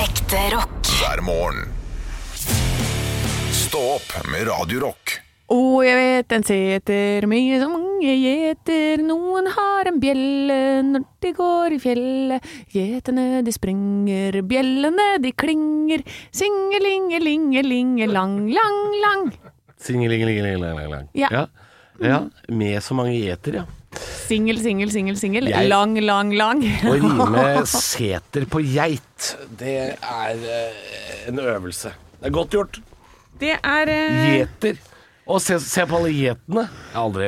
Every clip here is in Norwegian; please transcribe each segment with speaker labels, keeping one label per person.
Speaker 1: Ekte rock.
Speaker 2: hver morgen. Stå opp med Radio Rock.
Speaker 3: Å, jeg vet en seter med så mange gjeter. Noen har en bjelle når de går i fjellet. Gjetene de springer, bjellene de klinger. Singelingelingelingelang, lang, lang.
Speaker 4: Singelingelingelingelang.
Speaker 3: Ja.
Speaker 4: Ja. ja. Med så mange gjeter, ja.
Speaker 3: Singel, singel, singel, singel.
Speaker 4: Jeg-
Speaker 3: Lang, lang, lang.
Speaker 4: Å rime seter på geit, det er eh, en øvelse. Det er godt gjort.
Speaker 3: Det er eh,
Speaker 4: Gjeter. Og se, se på alle gjetene. Jeg har Aldri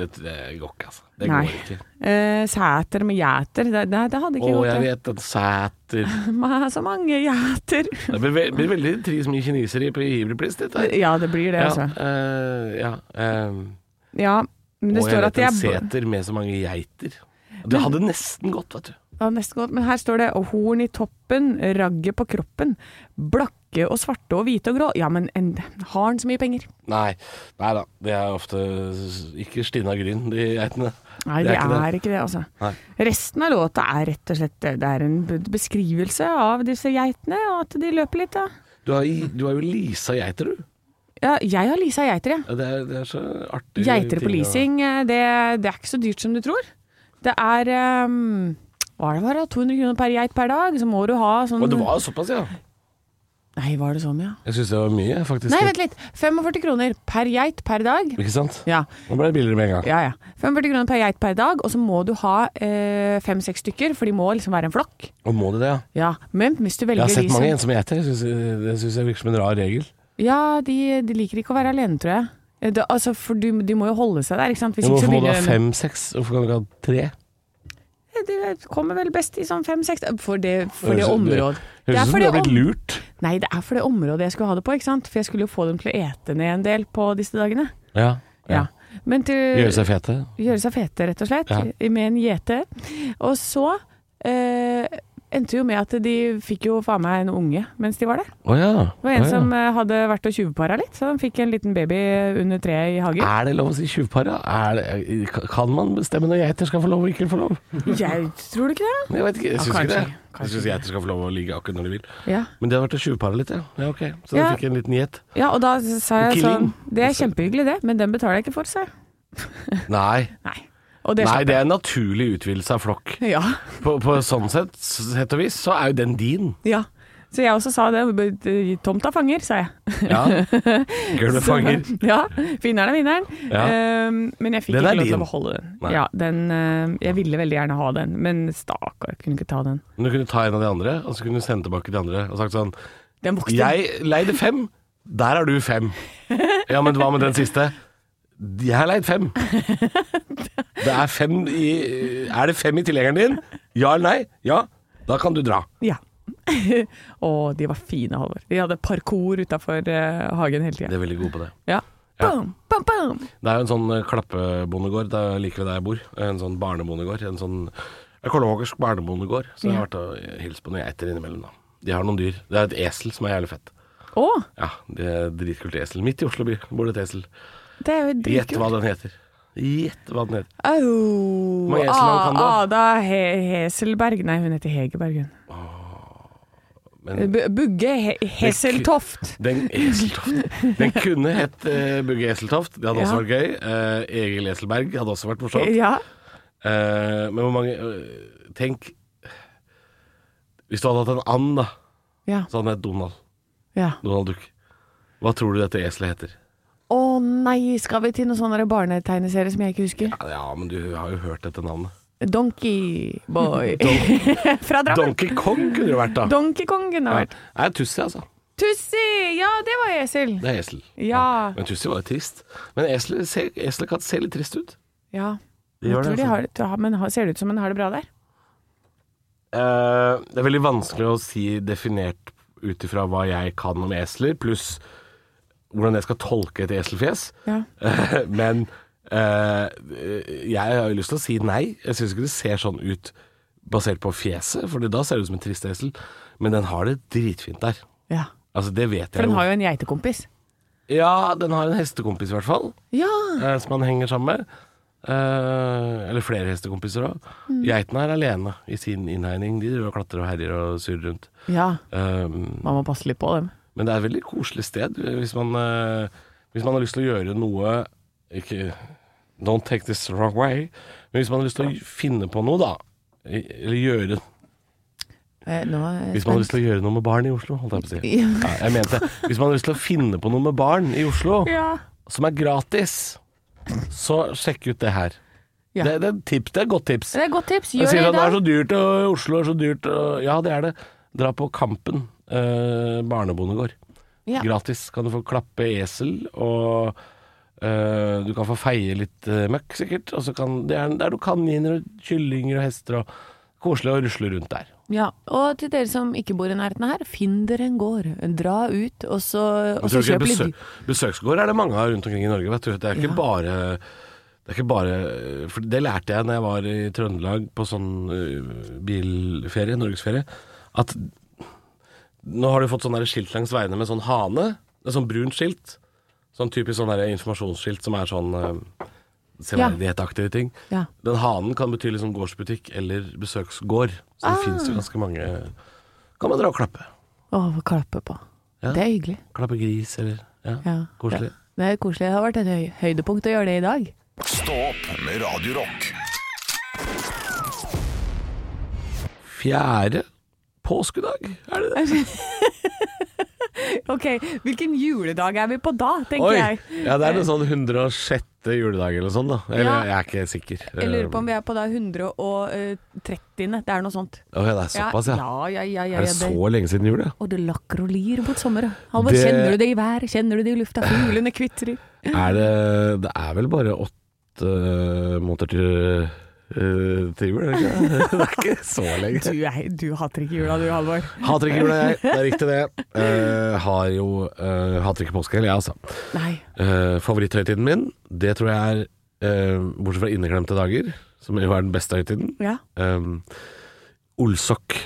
Speaker 4: Det, det går ikke, altså. Det
Speaker 3: Nei.
Speaker 4: går ikke.
Speaker 3: eh, Sæter med gjeter. Det, det, det hadde
Speaker 4: Å,
Speaker 3: ikke
Speaker 4: jeg
Speaker 3: gått.
Speaker 4: vet en sæter
Speaker 3: det. Ma- Så mange gjeter.
Speaker 4: Det blir, ve blir veldig trist mye kinesere i Ibriplis, dette. her.
Speaker 3: Ja, det blir det,
Speaker 4: Ja,
Speaker 3: altså.
Speaker 4: eh, ja, eh,
Speaker 3: Ja, men det
Speaker 4: og jeg
Speaker 3: står
Speaker 4: vet
Speaker 3: at de
Speaker 4: en
Speaker 3: er
Speaker 4: seter med så mange geiter. Det hadde nesten gått, vet du.
Speaker 3: Ja, nesten godt. Men her står det «Og horn i toppen, ragge på kroppen, blakke og svarte og hvite og grå. Ja, men en, har han så mye penger?
Speaker 4: Nei, nei da. Det er ofte s- ikke stinna gryn, de geitene.
Speaker 3: Nei, det, er, ikke det, altså.
Speaker 4: Nei.
Speaker 3: Resten av låta er rett og slett det er en b- beskrivelse av disse geitene, og at de løper litt, da.
Speaker 4: Du har, i- du har jo Lisa geiter, du.
Speaker 3: Ja, jeg har Lisa Geiter, jeg.
Speaker 4: Ja, Det er, det er så artig.
Speaker 3: Geiter
Speaker 4: ting
Speaker 3: på
Speaker 4: å-
Speaker 3: leasing, eh, det, det er ikke så dyrt som du tror. Det er ehm, Hva er det bare? 200 kroner per geit per dag? Så må du ha sånn
Speaker 4: Og det var såpass, ja.
Speaker 3: Nei, var det så mye?
Speaker 4: Jeg syns det var mye, faktisk.
Speaker 3: Nei, vent litt. 45 kroner per geit per dag.
Speaker 4: Ikke sant?
Speaker 3: Ja.
Speaker 4: Nå ble det billigere med en gang.
Speaker 3: Ja, ja. 45 kroner per geit per dag, og så må du ha eh, fem-seks stykker, for de må liksom være en flokk.
Speaker 4: Og må det det, ja?
Speaker 3: Ja, Men hvis du
Speaker 4: Jeg
Speaker 3: velger
Speaker 4: har sett
Speaker 3: de som
Speaker 4: mange ensomme geiter. Jeg synes- eh, Det syns jeg virker som en rar regel.
Speaker 3: Ja, de, de liker ikke å være alene, tror jeg. Eh, Det, altså, for du, de må jo holde seg der, ikke sant? Hvis ikke
Speaker 4: Men
Speaker 3: så
Speaker 4: hvorfor må du
Speaker 3: begynner
Speaker 4: ha fem-seks? Hvorfor kan du ikke ha tre?
Speaker 3: Det eh, kommer vel best i sånn fem-seks For det, for det
Speaker 4: Høres ut-
Speaker 3: området. Det
Speaker 4: Høres
Speaker 3: er for
Speaker 4: ut som du
Speaker 3: det
Speaker 4: har blitt
Speaker 3: om-
Speaker 4: lurt.
Speaker 3: Nei, det er for det området jeg skulle ha det på, ikke sant? For jeg skulle jo få dem til å ete ned en del på disse dagene.
Speaker 4: Ja.
Speaker 3: Ja.
Speaker 4: ja.
Speaker 3: Men til
Speaker 4: Gjøre seg fete.
Speaker 3: Gjøre seg fete, rett og slett,
Speaker 4: Ja.
Speaker 3: med en gjete. Og så eh, endte jo med at de fikk jo faen meg en unge mens de var der.
Speaker 4: Å ja.
Speaker 3: Det var en
Speaker 4: Å ja.
Speaker 3: som eh, hadde vært og tjuvpara litt, så han fikk en liten baby under treet i hagen.
Speaker 4: Er det lov å si tjuvpara? Er det- eh, Kan man bestemme når geiter skal få lov og ikke få lov?
Speaker 3: Jeg tror du ikke det?
Speaker 4: Jeg vet ikke, jeg
Speaker 3: Ja,
Speaker 4: syns ikke
Speaker 3: kanskje,
Speaker 4: det. Jeg
Speaker 3: kanskje
Speaker 4: syns geiter skal få lov å ligge akkurat når de vil.
Speaker 3: Ja.
Speaker 4: Men det har vært å tjuvpare litt, ja. ja ok. Så da
Speaker 3: Ja.
Speaker 4: fikk jeg en liten gjet.
Speaker 3: ja, og da sa jeg sånn
Speaker 4: Killing.
Speaker 3: Det er kjempehyggelig det, men den betaler jeg ikke for, sa jeg.
Speaker 4: Nei.
Speaker 3: Nei. Og det
Speaker 4: Nei,
Speaker 3: slapp
Speaker 4: det er en naturlig utvidelse av flokk.
Speaker 3: jeg. Ja.
Speaker 4: På, på sånn sett, sett og vis, så er jo den din.
Speaker 3: ja. Så jeg også sa det. Tomta fanger, sa jeg.
Speaker 4: Ja. Girl med fanger.
Speaker 3: Så- Ja, Vinneren er vinneren.
Speaker 4: Ja.
Speaker 3: Ehm, men jeg fikk
Speaker 4: Den
Speaker 3: ikke
Speaker 4: er
Speaker 3: lov til
Speaker 4: din.
Speaker 3: å beholde den.
Speaker 4: Nei.
Speaker 3: Ja, den eh, jeg ville veldig gjerne ha den, men stakkar, jeg kunne ikke ta den.
Speaker 4: Men du kunne ta en av de andre, og så kunne du sende tilbake de andre og sagt sånn
Speaker 3: Den vokste.
Speaker 4: Jeg leide fem, der er du fem. Ja, men hva med den siste? Jeg har leid fem. Det er fem i Er det fem i tilhengeren din? Ja eller nei? Ja. Da kan du dra.
Speaker 3: Ja. Å, de var fine, Halvor. De hadde parkour utafor eh, hagen hele
Speaker 4: De
Speaker 3: tida.
Speaker 4: er veldig gode på det.
Speaker 3: Ja. Bam, bam, bam.
Speaker 4: Det er jo en sånn eh, klappebondegård det er like ved der jeg bor. En sånn barnebondegård. En sånn en kolomogersk barnebondegård. Så jeg har vært og hilst på noen geiter innimellom, da. De har noen dyr. Det er et esel som er jævlig fett.
Speaker 3: Å,
Speaker 4: Ja, det er et dritkult esel. Midt i Oslo by bor det et esel.
Speaker 3: det er jo
Speaker 4: Gjett hva
Speaker 3: dritkult.
Speaker 4: den heter. Gjett hva den heter.
Speaker 3: Au.
Speaker 4: mange Eselhavn kan du ha?
Speaker 3: Ah, Ada He Heselberg. Nei, hun heter Hegerberg, hun.
Speaker 4: Men
Speaker 3: B Bugge He Heseltoft.
Speaker 4: den Eseltoft Den kunne hett eh, Bugge Eseltoft. Det hadde
Speaker 3: Ja.
Speaker 4: også vært gøy. Eh, Egil Eselberg hadde også vært morsomt.
Speaker 3: Ja.
Speaker 4: Eh, men hvor mange eh, Tenk Hvis du hadde hatt en and, da,
Speaker 3: ja.
Speaker 4: så hadde den hett Donald.
Speaker 3: ja.
Speaker 4: Donald Duck. Hva tror du dette eselet heter?
Speaker 3: Å nei, skal vi til noen sånne barnetegneserier som jeg ikke husker?
Speaker 4: Ja, men du har jo hørt dette navnet.
Speaker 3: Donkey Boy. Fra Drammen.
Speaker 4: Donkey Kong kunne det jo vært, da.
Speaker 3: Donkey Kongen har
Speaker 4: ja.
Speaker 3: vært.
Speaker 4: Nei, Tussi, altså.
Speaker 3: Tussi! Ja, det var esel.
Speaker 4: Det er esel.
Speaker 3: Ja.
Speaker 4: Men Tussi var jo trist. Men eselet ser- eselet kan se litt trist ut.
Speaker 3: Ja.
Speaker 4: Det
Speaker 3: Jeg
Speaker 4: gjør
Speaker 3: tror
Speaker 4: det,
Speaker 3: de
Speaker 4: altså.
Speaker 3: har det, ja, men har- ser det ut som en har det bra der?
Speaker 4: Eh, det er veldig vanskelig å si definert ut ifra hva jeg kan om esler, pluss hvordan jeg skal tolke et eselfjes.
Speaker 3: Ja.
Speaker 4: Eh, Men eh, jeg har jo lyst til å si nei. Jeg syns ikke det ser sånn ut basert på fjeset, for da ser det ut som en trist esel. Men den har det dritfint der.
Speaker 3: ja.
Speaker 4: Altså, det vet
Speaker 3: For
Speaker 4: jeg
Speaker 3: den
Speaker 4: jo.
Speaker 3: har jo en geitekompis.
Speaker 4: Ja, den har en hestekompis i hvert fall,
Speaker 3: Ja.
Speaker 4: eh, som han henger sammen med. Eh, eller flere hestekompiser òg.
Speaker 3: Mm.
Speaker 4: Geitene er alene i sin innhegning. De driver og klatrer og herjer og surrer rundt.
Speaker 3: Ja,
Speaker 4: Eh,
Speaker 3: man må passe litt på dem.
Speaker 4: men det er et veldig koselig sted hvis man, eh, hvis man har lyst til å gjøre noe ikke, Don't take this the wrong way. Men hvis man har lyst til å finne på noe, da. i- Eller gjøre
Speaker 3: Eh, nå er jeg
Speaker 4: Hvis man har lyst
Speaker 3: spent.
Speaker 4: til å gjøre noe med barn i Oslo, holdt jeg på å si. Ja, jeg mente Hvis man har lyst til å finne på noe med barn i Oslo,
Speaker 3: Ja.
Speaker 4: som er gratis, så sjekk ut det her.
Speaker 3: Ja.
Speaker 4: Det, det, er et tips, det er et godt tips.
Speaker 3: Det er et godt tips.
Speaker 4: Jeg
Speaker 3: Gjør
Speaker 4: sier
Speaker 3: det
Speaker 4: at
Speaker 3: i
Speaker 4: det er
Speaker 3: dag.
Speaker 4: så dyrt, og Oslo er så dyrt. Og ja, det er det. Dra på Kampen eh, barnebondegård.
Speaker 3: Ja.
Speaker 4: Gratis. Kan du få klappe esel, og eh, du kan få feie litt eh, møkk, sikkert. Og så kan, det er, det er noen kaniner og kyllinger og hester og Koselig å rusle rundt der.
Speaker 3: Ja, og til dere som ikke bor i nærheten her, finn dere en gård. Dra ut, og så, og så
Speaker 4: Jeg tror ikke
Speaker 3: kjøp litt
Speaker 4: besøk- Besøksgårder er det mange av rundt omkring i Norge. Vet du. Det er ikke
Speaker 3: Ja.
Speaker 4: bare det er ikke bare For det lærte jeg da jeg var i Trøndelag på sånn øh, bilferie, norgesferie, at nå har du fått sånn der skilt langs veiene med sånn hane. Det er sånn brunt skilt. Sånn typisk sånn der informasjonsskilt som er sånn øh, severdighetaktige ting.
Speaker 3: Ja.
Speaker 4: Den hanen kan bety liksom gårdsbutikk eller besøksgård. Så
Speaker 3: Ah.
Speaker 4: det finnes jo ganske mange Kan man dra og klappe.
Speaker 3: og klappe på.
Speaker 4: Ja.
Speaker 3: Det er hyggelig.
Speaker 4: Klappe gris eller Ja,
Speaker 3: Ja. Det,
Speaker 4: koselig.
Speaker 3: det er koselig. Det har vært et høy, høydepunkt å gjøre det i dag.
Speaker 2: Stå opp med Radio Rock.
Speaker 4: Fjerde påskedag, er det det?
Speaker 3: Ok, hvilken juledag er vi på da, tenker jeg.
Speaker 4: Ja, det er den sånn 106. juledag eller sånn, da. Eller
Speaker 3: Ja.
Speaker 4: jeg er ikke helt sikker.
Speaker 3: Jeg lurer på om
Speaker 4: Eh,
Speaker 3: vi er på da 130. Det er noe sånt.
Speaker 4: Å, ja, det er såpass, ja.
Speaker 3: Ja, ja, ja, ja,
Speaker 4: Er det
Speaker 3: ja,
Speaker 4: så lenge siden jul, ja?
Speaker 3: Og det lakker og lir mot sommeren. Halvor,
Speaker 4: Det-
Speaker 3: kjenner du det i været? Kjenner du det i lufta? Fuglene kvitrer.
Speaker 4: Er det Det er vel bare åtte øh, måneder til, øh, til jul, er det ikke? det? Det er ikke så lenge.
Speaker 3: Du, er- du hater ikke jula du, Halvor.
Speaker 4: Hater ikke jula, jeg. Det er riktig, det. Eh, har jo eh, Hater ikke påske, jeg, altså.
Speaker 3: Nei.
Speaker 4: Eh, favoritthøytiden min, det tror jeg er eh, Bortsett fra inneklemte dager, som jo er den beste høytiden.
Speaker 3: Ja.
Speaker 4: Um, Olsok.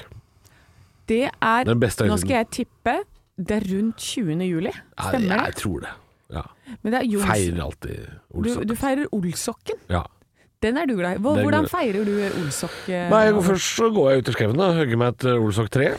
Speaker 3: Det er
Speaker 4: Den beste
Speaker 3: Nå skal jeg tippe. Det er rundt 20. juli.
Speaker 4: jeg,
Speaker 3: Stemmer
Speaker 4: jeg
Speaker 3: det?
Speaker 4: tror det. Ja.
Speaker 3: Men det er Jons.
Speaker 4: Feirer alltid
Speaker 3: Du,
Speaker 4: Olsok.
Speaker 3: du feirer Olsokken.
Speaker 4: ja.
Speaker 3: Den er du glad i. Hvor,
Speaker 4: Den er
Speaker 3: hvordan
Speaker 4: god.
Speaker 3: feirer du Olsok? eh,
Speaker 4: Nei, jeg går først så går jeg ut i skauen og hogger meg et eh, olsoktre.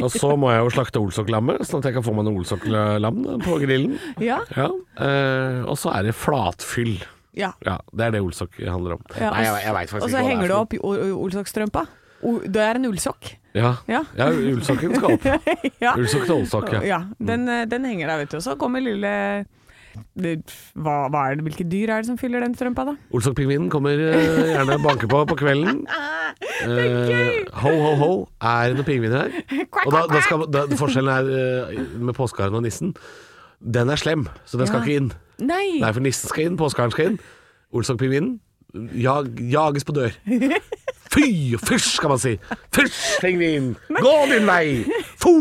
Speaker 4: og så må jeg jo slakte olsoklammet, sånn at jeg kan få meg noe olsoklam på grillen.
Speaker 3: Ja,
Speaker 4: Ja. eh, og så er det flatfyll.
Speaker 3: ja.
Speaker 4: Ja, det er det olsok handler om.
Speaker 3: Ja,
Speaker 4: Nei, jeg, jeg veit
Speaker 3: Og
Speaker 4: faktisk
Speaker 3: så
Speaker 4: ikke hva
Speaker 3: henger
Speaker 4: det
Speaker 3: du
Speaker 4: er.
Speaker 3: opp i o- o- Olsokstrømpa. O- Det er en ullsokk.
Speaker 4: Ja.
Speaker 3: Ja.
Speaker 4: ja, olsokken skal opp.
Speaker 3: ja.
Speaker 4: Olsok til olsok, ja.
Speaker 3: ja den, eh, den henger der, vet du. Og så kommer lille det, hva, hva er det, Hvilke dyr er det som fyller den strømpa, da?
Speaker 4: Olsokpingvinen kommer eh, gjerne og banker på på kvelden.
Speaker 3: Ah.
Speaker 4: Eh, ho, ho, ho. Er det noen pingviner her? Og da, da skal, da, forskjellen er eh, med påskeharen og nissen. Den er slem, så den skal
Speaker 3: Ja.
Speaker 4: ikke inn.
Speaker 3: Nei!
Speaker 4: Nei, for nissen skal inn, påskeharen skal inn. Olsokpingvinen jag, jages på dør. Fy og fysj, skal man si. Fysj, pingvin! Gå din vei! Fo!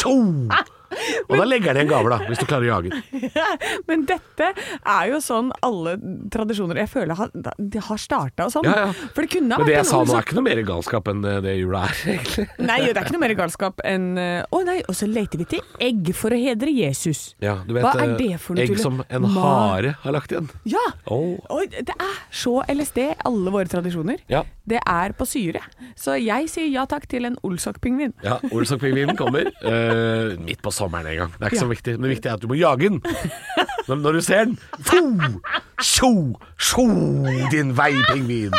Speaker 4: Tjo! Og da legger den igjen gaver, da, hvis du klarer å jage den.
Speaker 3: Men dette er jo sånn alle tradisjoner Jeg føler har, de har starta og sånn.
Speaker 4: Ja, ja.
Speaker 3: For det kunne ha vært
Speaker 4: Men det jeg
Speaker 3: en
Speaker 4: sa nå,
Speaker 3: olsokk-
Speaker 4: er ikke noe mer galskap enn eh, det jula er, egentlig.
Speaker 3: Nei, det er ikke noe mer galskap enn eh, Å nei, og så leter vi til egg for å hedre Jesus.
Speaker 4: Ja, du vet,
Speaker 3: Hva er
Speaker 4: eh,
Speaker 3: det for noe
Speaker 4: Egg
Speaker 3: tull?
Speaker 4: som en
Speaker 3: Ma-
Speaker 4: hare har lagt igjen.
Speaker 3: Ja!
Speaker 4: Åh.
Speaker 3: Og det er så LSD, alle våre tradisjoner.
Speaker 4: Ja.
Speaker 3: Det er på syre. Så jeg sier ja takk til en olsokpingvin.
Speaker 4: Ja, Olsokpingvinen kommer eh, midt på sommeren en gang. Det er ikke så viktig. Men det viktige er at du må jage den. Når, når du ser den. Fo! Tjo! Sjo! Din vei, pingvin.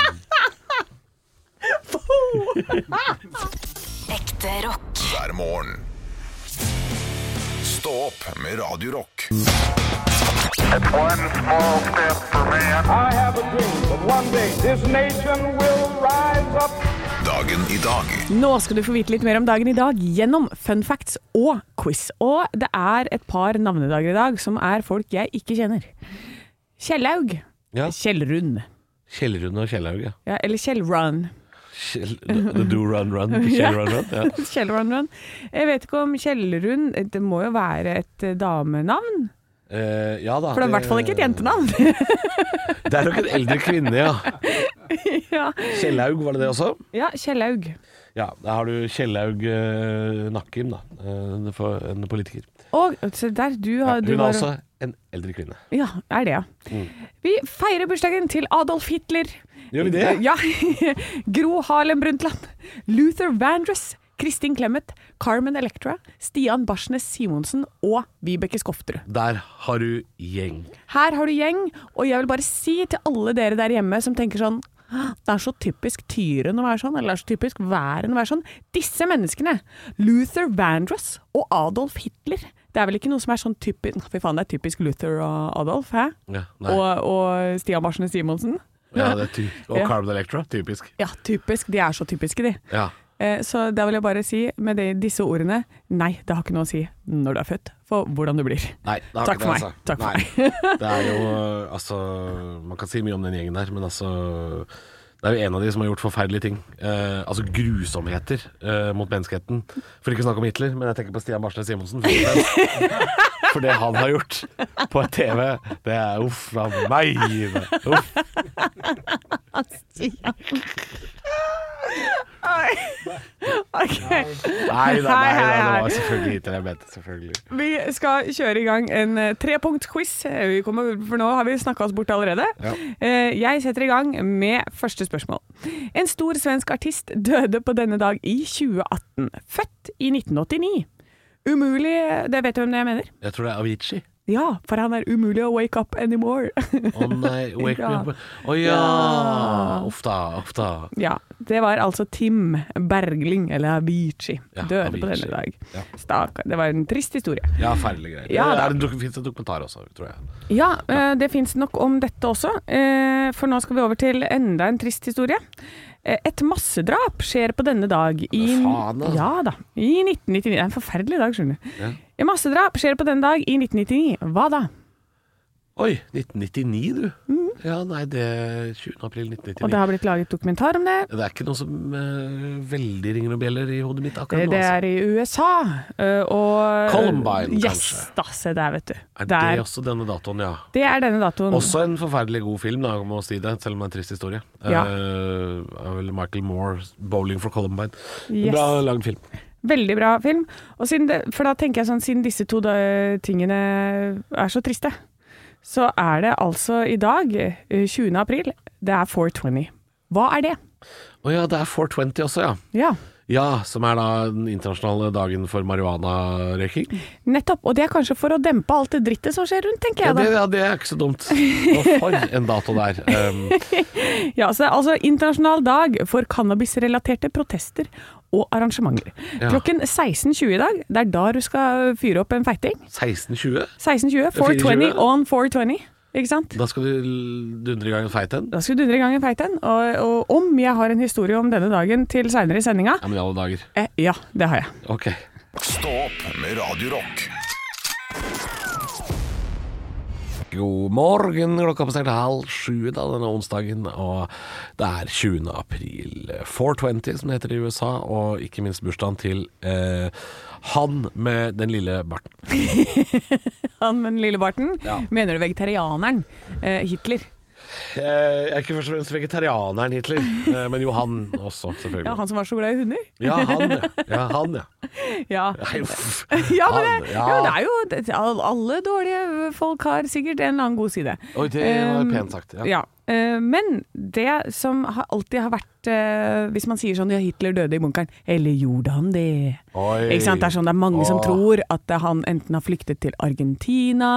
Speaker 1: Ekte rock.
Speaker 2: hver morgen. Stå opp med Radio Rock.
Speaker 5: It's one small step for man.
Speaker 6: I have a dream that one day this nation will rise up.
Speaker 2: Dagen i dag
Speaker 3: Nå skal du få vite litt mer om dagen i dag gjennom fun facts og quiz. Og det er et par navnedager i dag som er folk jeg ikke kjenner. Kjellaug.
Speaker 4: Ja.
Speaker 3: Kjellrund.
Speaker 4: Kjellrun og Kjellaug, ja.
Speaker 3: Ja, eller Kjellrun.
Speaker 4: Kjell, the do run run. Kjell run run. Ja.
Speaker 3: Kjellrun. Jeg vet ikke om Kjellrund Det må jo være et eh, damenavn?
Speaker 4: Eh, ja da.
Speaker 3: For det er i hvert fall ikke et jentenavn.
Speaker 4: Det er nok en eldre kvinne, ja.
Speaker 3: ja.
Speaker 4: Kjellaug, var det det også?
Speaker 3: ja, Kjellaug.
Speaker 4: Ja, da har du Kjellaug eh, Nakkim, da. eh, for- En politiker.
Speaker 3: Og se der, du
Speaker 4: Ja,
Speaker 3: har du
Speaker 4: hun er
Speaker 3: var-
Speaker 4: også en eldre kvinne.
Speaker 3: Ja, er det, ja. Vi feirer bursdagen til Adolf Hitler.
Speaker 4: Gjør vi det?
Speaker 3: Ja. Gro Harlem Brundtland. Luther Vandress. Kristin Clemet. Carmen Electra. Stian Barsnes Simonsen. Og Vibeke Skofterud.
Speaker 4: Der har du gjeng.
Speaker 3: Her har du gjeng, og jeg vil bare si til alle dere der hjemme som tenker sånn «Hå, det er så typisk Tyren å være sånn, eller det er så typisk væren å være sånn. Disse menneskene, Luther Vandross og Adolf Hitler, det er vel ikke noe som er sånn typisk Fy faen, det er typisk Luther og Adolf, hæ?
Speaker 4: Ja, nei.
Speaker 3: og, og Stian Barsene Simonsen.
Speaker 4: Ja, det er ty og
Speaker 3: Ja.
Speaker 4: Carmen Electra. Typisk.
Speaker 3: Ja, typisk. De er så typiske, de.
Speaker 4: Ja.
Speaker 3: Eh, Så da vil jeg bare si med de, disse ordene nei, det har ikke noe å si når du er født, for hvordan du blir.
Speaker 4: Nei, det har
Speaker 3: Takk
Speaker 4: ikke
Speaker 3: for
Speaker 4: det,
Speaker 3: meg.
Speaker 4: altså.
Speaker 3: Takk for
Speaker 4: Nei.
Speaker 3: meg.
Speaker 4: Det er jo øh, Altså, man kan si mye om den gjengen der, men altså det er jo en av de som har gjort forferdelige ting. Eh, altså grusomheter eh, mot menneskeheten. For ikke å snakke om Hitler, men jeg tenker på Stian Barsnes Simonsen. først og fremst. For det han har gjort på TV, det er uff a meg. Uff.
Speaker 3: Ok.
Speaker 4: Nei da, nei,
Speaker 3: Hei, hei,
Speaker 4: da, det
Speaker 3: hei.
Speaker 4: var selvfølgelig Hitler jeg mente. Selvfølgelig.
Speaker 3: Vi skal kjøre i gang en eh, trepunktquiz, Eh, vi kommer- for nå har vi snakka oss bort allerede.
Speaker 4: Ja.
Speaker 3: Eh, Jeg setter i gang med første spørsmål. En stor svensk artist døde på denne dag i 2018. Født i 1989. Umulig Det vet du hvem det jeg mener?
Speaker 4: Jeg tror det er Avicii.
Speaker 3: Ja, for han er umulig å wake up anymore.
Speaker 4: Å nei, wake
Speaker 3: Ja.
Speaker 4: me up. Å ja. Uff da, uff da.
Speaker 3: Ja, det var altså Tim Bergling, eller Avicii,
Speaker 4: Ja,
Speaker 3: døde på denne
Speaker 4: Avicii.
Speaker 3: dag.
Speaker 4: Ja.
Speaker 3: Stakkar. Det var en trist historie.
Speaker 4: Ja, fæle greier.
Speaker 3: Ja, da.
Speaker 4: det er en, dok- finnes en dokumentar også, tror jeg.
Speaker 3: Ja, eh, det fins nok om dette også, eh, for nå skal vi over til enda en trist historie. Eh, Et massedrap skjer på denne dag i
Speaker 4: faen, altså.
Speaker 3: Ja da, i 1999. Det er en forferdelig dag, skjønner du. Et massedrap skjer på denne dag i 1999. Hva da?
Speaker 4: Oi, 1999 du. Ja, nei, det er 20. april
Speaker 3: Mm. Og det
Speaker 4: 1999.
Speaker 3: har blitt laget dokumentar om det.
Speaker 4: Det, er ikke noe som eh, veldig ringer og bjeller i hodet mitt akkurat
Speaker 3: Det
Speaker 4: nå. Altså.
Speaker 3: er i USA, eh, og
Speaker 4: Columbine,
Speaker 3: Yes,
Speaker 4: kanskje.
Speaker 3: da, se der, vet du.
Speaker 4: Er det,
Speaker 3: Der. Mm.
Speaker 4: også denne datoen, ja.
Speaker 3: Det er denne datoen.
Speaker 4: Også en forferdelig god film, da, må jeg si det, selv om det er en trist historie.
Speaker 3: Ja.
Speaker 4: Eh, er vel Michael Moore, 'Bowling for Columbine'.
Speaker 3: Yes.
Speaker 4: Bra lagd film.
Speaker 3: Veldig bra film. Og siden det, for da tenker jeg sånn, siden disse to da, tingene er så triste, så er det altså i dag, eh, 20. april, det er 420. Hva er det?
Speaker 4: Å ja, det er 420 også, ja.
Speaker 3: Ja,
Speaker 4: Ja, som er da den internasjonale dagen for marihuanarøyking.
Speaker 3: nettopp. Og det er kanskje for å dempe alt det drittet som skjer rundt, tenker
Speaker 4: Ja,
Speaker 3: jeg
Speaker 4: det,
Speaker 3: da.
Speaker 4: ja, det er ikke så dumt. Og for en dato der. Um,
Speaker 3: Ja, så det er altså internasjonal dag for cannabisrelaterte protester og arrangementer.
Speaker 4: Ja.
Speaker 3: Klokken 16.20 i dag, det er da du skal fyre opp en feiting.
Speaker 4: 1620?
Speaker 3: 16.20, 420 on 420, ikke sant?
Speaker 4: Da skal du dundre i gang en feit en?
Speaker 3: Da skal vi dundre i gang en feit en. Og, og om jeg har en historie om denne dagen til seinere i sendinga
Speaker 4: Ja, men i alle dager.
Speaker 3: eh, Ja, det har jeg.
Speaker 4: Ok.
Speaker 2: Stå opp med Radio Rock.
Speaker 4: God morgen, klokka passerte halv sju da denne onsdagen, og det er 20. april. 420, som det heter i USA, og ikke minst bursdagen til eh, han med den lille barten.
Speaker 3: Han med den lille barten.
Speaker 4: Ja.
Speaker 3: Mener du vegetarianeren? Eh, Hitler.
Speaker 4: Eh, Jeg er ikke først og fremst vegetarianeren Hitler, eh, men jo han også,
Speaker 3: Ja,
Speaker 4: selvfølgelig.
Speaker 3: Han som var så glad i hunder?
Speaker 4: Ja, han, ja. ja, han, ja.
Speaker 3: Ja.
Speaker 4: Nei, uff.
Speaker 3: Ja, men
Speaker 4: Han,
Speaker 3: det, ja, det er jo det- all- Alle dårlige folk har sikkert en eller annen god side.
Speaker 4: Oi, det var
Speaker 3: Ehm,
Speaker 4: pent sagt. Ja.
Speaker 3: Ja. eh, Men det som har alltid har vært eh, Hvis man sier sånn ja, Hitler døde i bunkeren, eller gjorde han det?
Speaker 4: Oi.
Speaker 3: Ikke sant? Det er sånn det er mange som
Speaker 4: Åh.
Speaker 3: tror at eh, han enten har flyktet til Argentina,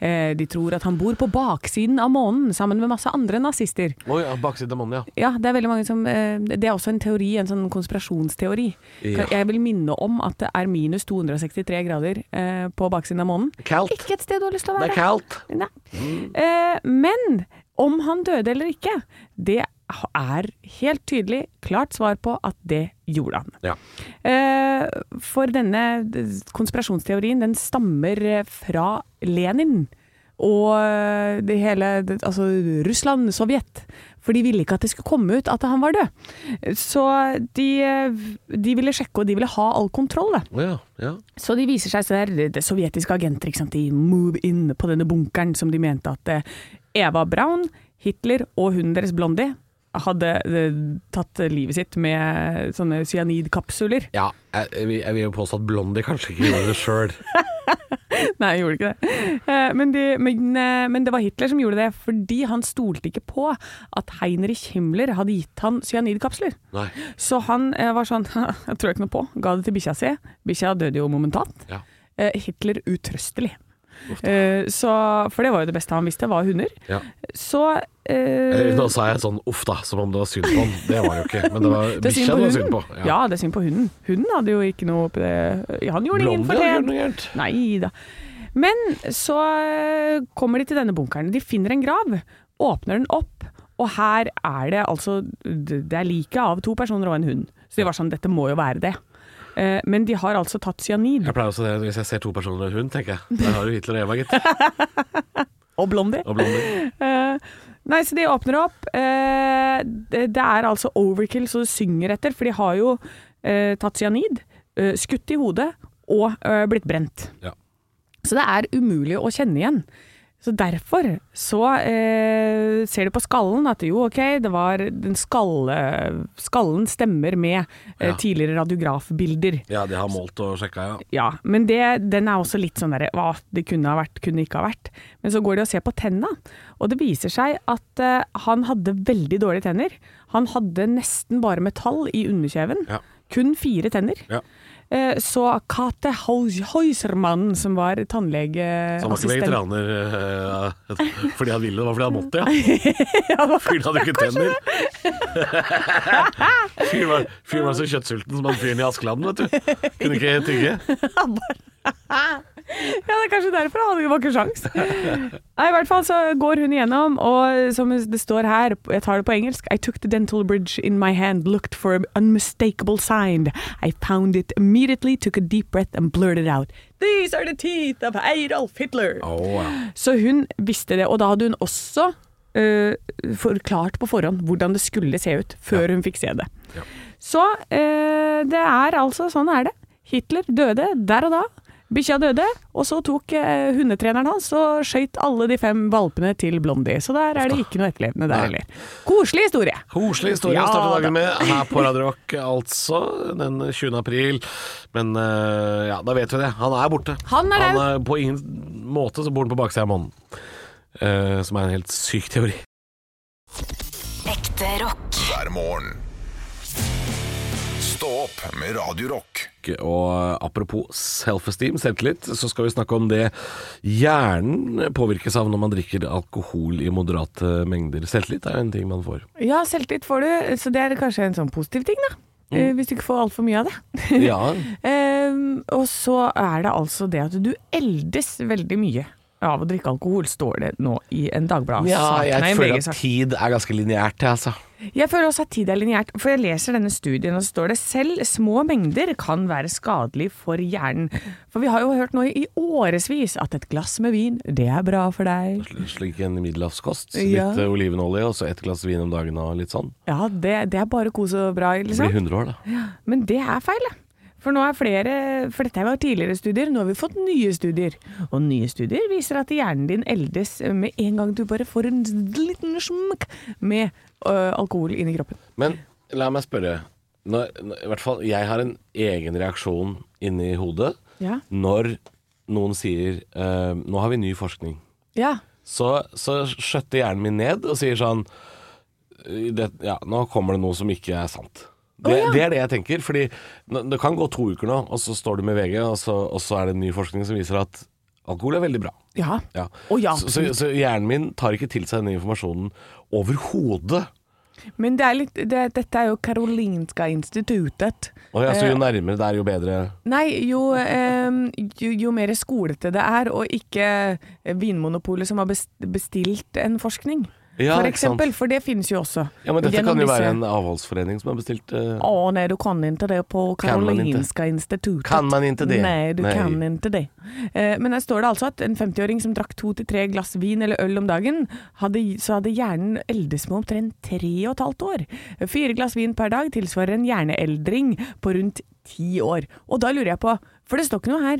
Speaker 3: eh, de tror at han bor på baksiden av månen sammen med masse andre nazister.
Speaker 4: Oi, ja, baksiden av månen, ja.
Speaker 3: Ja, det er veldig mange som eh, Det er også en teori, en sånn konspirasjonsteori.
Speaker 4: Ja.
Speaker 3: Jeg vil minne om at det er minus 263 grader eh, på baksiden av månen.
Speaker 4: Kaldt.
Speaker 3: Ikke et sted du har lyst til å
Speaker 4: Det
Speaker 3: være.
Speaker 4: er kaldt. Mm.
Speaker 3: Nei. Eh, men om han døde eller ikke, det er helt tydelig klart svar på at det gjorde han.
Speaker 4: Ja.
Speaker 3: Eh, for denne konspirasjonsteorien, den stammer eh, fra Lenin. Og eh, det hele det- Altså Russland, Sovjet. For de ville ikke at det skulle komme ut at han var død. Så de, eh, de ville sjekke, og de ville ha all kontroll, da.
Speaker 4: Å ja, ja.
Speaker 3: Så de viser seg så der, det sovjetiske agenter, ikke sant? de move in på denne bunkeren som de mente at eh, Eva Braun, Hitler og hunden deres Blondie hadde eh, tatt livet sitt med eh, sånne cyanidkapsler.
Speaker 4: Ja, jeg, jeg, vil- jeg vil jo påstå at Blondie kanskje ikke gjorde det sjøl.
Speaker 3: Nei, jeg gjorde ikke det. Eh, Men, de, men, eh, men det var Hitler som gjorde det, fordi han stolte ikke på at Heinrich Himmler hadde gitt han cyanidkapsler.
Speaker 4: Nei.
Speaker 3: Så han eh, var sånn Jeg tror ikke noe på. Ga det til bikkja si. Bikkja døde jo momentant.
Speaker 4: Ja.
Speaker 3: Eh, Hitler utrøstelig. Eh, så, for det var jo det beste han visste, var hunder.
Speaker 4: Ja.
Speaker 3: Så eh,
Speaker 4: Eh, Nå sa jeg sånn uff da, som om det var synd på han. Det var det jo ikke. Men det var
Speaker 3: det er synd på
Speaker 4: bikkja det var
Speaker 3: hunden.
Speaker 4: synd på.
Speaker 3: Ja. det er synd på hunden. Hunden hadde jo ikke noe på det Han gjorde ingen
Speaker 4: Blondie hadde gjort
Speaker 3: fortjent.
Speaker 4: noe gærent.
Speaker 3: Nei da. Men så eh, kommer de til denne bunkeren. De finner en grav, åpner den opp, og her er det altså Det er liket av to personer og en hund. Så de var sånn Dette må jo være det. Eh, Men de har altså tatt cyanid.
Speaker 4: Jeg pleier også det hvis jeg ser to personer og en hund, tenker jeg. Der har du Hitler og Eva, gitt.
Speaker 3: Og Blondie.
Speaker 4: Og Blondie.
Speaker 3: Eh, nei, så de åpner opp. Eh, det, det er altså overkill så det synger etter, for de har jo eh, tatt cyanid, eh, skutt i hodet og eh, blitt brent.
Speaker 4: Ja.
Speaker 3: Så det er umulig å kjenne igjen. Så derfor så eh, ser de på skallen at jo, ok, det var den skalle, skallen stemmer med eh,
Speaker 4: Ja.
Speaker 3: tidligere radiografbilder.
Speaker 4: Ja, de har målt og sjekka, ja.
Speaker 3: Ja, men det, den er også litt sånn derre Hva, det kunne ha vært, kunne ikke ha vært. Men så går de og ser på tenna, og det viser seg at eh, han hadde veldig dårlige tenner. Han hadde nesten bare metall i underkjeven.
Speaker 4: Ja.
Speaker 3: Kun fire tenner.
Speaker 4: ja.
Speaker 3: Eh, så Kate Haus- Heusermann, som var
Speaker 4: Så han var ikke
Speaker 3: tannlegeassistent
Speaker 4: vegetarianer eh, fordi han ville, det var fordi han måtte, ja. Fyren hadde jo ikke tenner. Fyren var, fyren var så kjøttsulten som han fyren i Askeladden, vet du. Kunne ikke tygge.
Speaker 3: Ja, det er kanskje derfor han hadde ikke sjans. Nei, I hvert fall så går hun igjennom, og som det står her, jeg tar det på engelsk I took the dental bridge in my hand, looked for an unmistakable sign. I found it immediately, took a deep breath and blurted out These are the teeth of Adolf Hitler. Så hun visste det, og da hadde hun også eh, forklart på forhånd hvordan det skulle se ut, før hun fikk se det.
Speaker 4: Ja.
Speaker 3: Så eh, det er altså sånn er det. Hitler døde der og da. Bikkja døde, og så tok eh, hundetreneren hans og skøyt alle de fem valpene til Blondie. Så der er det ikke noe etterlevende der
Speaker 4: Nei.
Speaker 3: heller. Koselig historie.
Speaker 4: Koselig historie
Speaker 3: Ja,
Speaker 4: å starte
Speaker 3: da.
Speaker 4: dagen med her på Radio Rock, altså. Den 20. april. Men eh, ja, da vet vi det. Han er borte.
Speaker 3: Han er
Speaker 4: han er På ingen måte så bor han på baksida av månen. Eh, som er en helt syk teori.
Speaker 1: Ekte rock.
Speaker 2: hver morgen. Stå opp med Radio Rock.
Speaker 4: Og eh, apropos self-esteem, selvtillit, så skal vi snakke om det hjernen påvirkes av når man drikker alkohol i moderate mengder. Selvtillit er jo en ting man får.
Speaker 3: Ja, selvtillit får du, så det er kanskje en sånn positiv ting, da.
Speaker 4: Mm.
Speaker 3: Eh, Hvis du ikke får altfor mye av det.
Speaker 4: Ja,
Speaker 3: Ehm, og så er det altså det at du eldes veldig mye av å drikke alkohol, står det nå i en Dagbladet-sak. Nei,
Speaker 4: jeg
Speaker 3: en
Speaker 4: føler
Speaker 3: VG-sak.
Speaker 4: at tid er ganske lineært, jeg, altså.
Speaker 3: Jeg føler også at tid er lineært, for jeg leser denne studien, og så står det selv små mengder kan være skadelig for hjernen. For vi har jo hørt nå i årevis at et glass med vin, det er bra for deg.
Speaker 4: Slik en middelhavskost.
Speaker 3: Ja.
Speaker 4: Litt eh, olivenolje og så et glass vin om dagen og litt sånn.
Speaker 3: Ja, det, det er bare kos og bra,
Speaker 4: Det blir
Speaker 3: liksom.
Speaker 4: 100 år, da.
Speaker 3: Men det er feil, da. For nå er flere, for dette var tidligere studier, nå har vi fått nye studier. Og nye studier viser at hjernen din eldes med en gang du bare får en liten smekk med øh, alkohol inni kroppen.
Speaker 4: Men la meg spørre. Når, når, I hvert fall jeg har en egen reaksjon inni hodet
Speaker 3: Ja.
Speaker 4: når noen sier eh, 'nå har vi ny forskning'.
Speaker 3: Ja.
Speaker 4: så, så skjøtter hjernen min ned og sier sånn «I det, Ja, nå kommer det noe som ikke er sant. Det,
Speaker 3: ja.
Speaker 4: det er det jeg tenker. Fordi n- det kan gå to uker nå, og så står du med VG, og så, og så er det ny forskning som viser at alkohol er veldig bra.
Speaker 3: Ja.
Speaker 4: Ja.
Speaker 3: Å, ja,
Speaker 4: så, så, så hjernen min tar ikke til seg denne informasjonen overhodet.
Speaker 3: Men det er litt, det, dette er jo Karolinska instituttet.
Speaker 4: Og jeg, så
Speaker 3: Eh,
Speaker 4: jo nærmere det er, jo bedre.
Speaker 3: Nei, jo, ehm, jo, jo mer skolete det er, og ikke Vinmonopolet som har bes- bestilt en forskning.
Speaker 4: Ja,
Speaker 3: for
Speaker 4: ikke sant.
Speaker 3: eksempel, for det finnes jo også.
Speaker 4: Ja, men dette
Speaker 3: Gjennom
Speaker 4: kan jo
Speaker 3: disse-
Speaker 4: være en avholdsforening som har bestilt eh,
Speaker 3: Å nei, du kan ikke det på
Speaker 4: Kan man inte.
Speaker 3: Karolinska instituttet.
Speaker 4: Kan man inte det?
Speaker 3: Nei, du
Speaker 4: Nej.
Speaker 3: kan ikke det. Eh, men her står det altså at en 50-åring som drakk to til tre glass vin eller øl om dagen, hadde, så hadde hjernen eldes med omtrent tre og et halvt år. Fire glass vin per dag tilsvarer en hjerneeldring på rundt ti år. Og da lurer jeg på, for det står ikke noe her,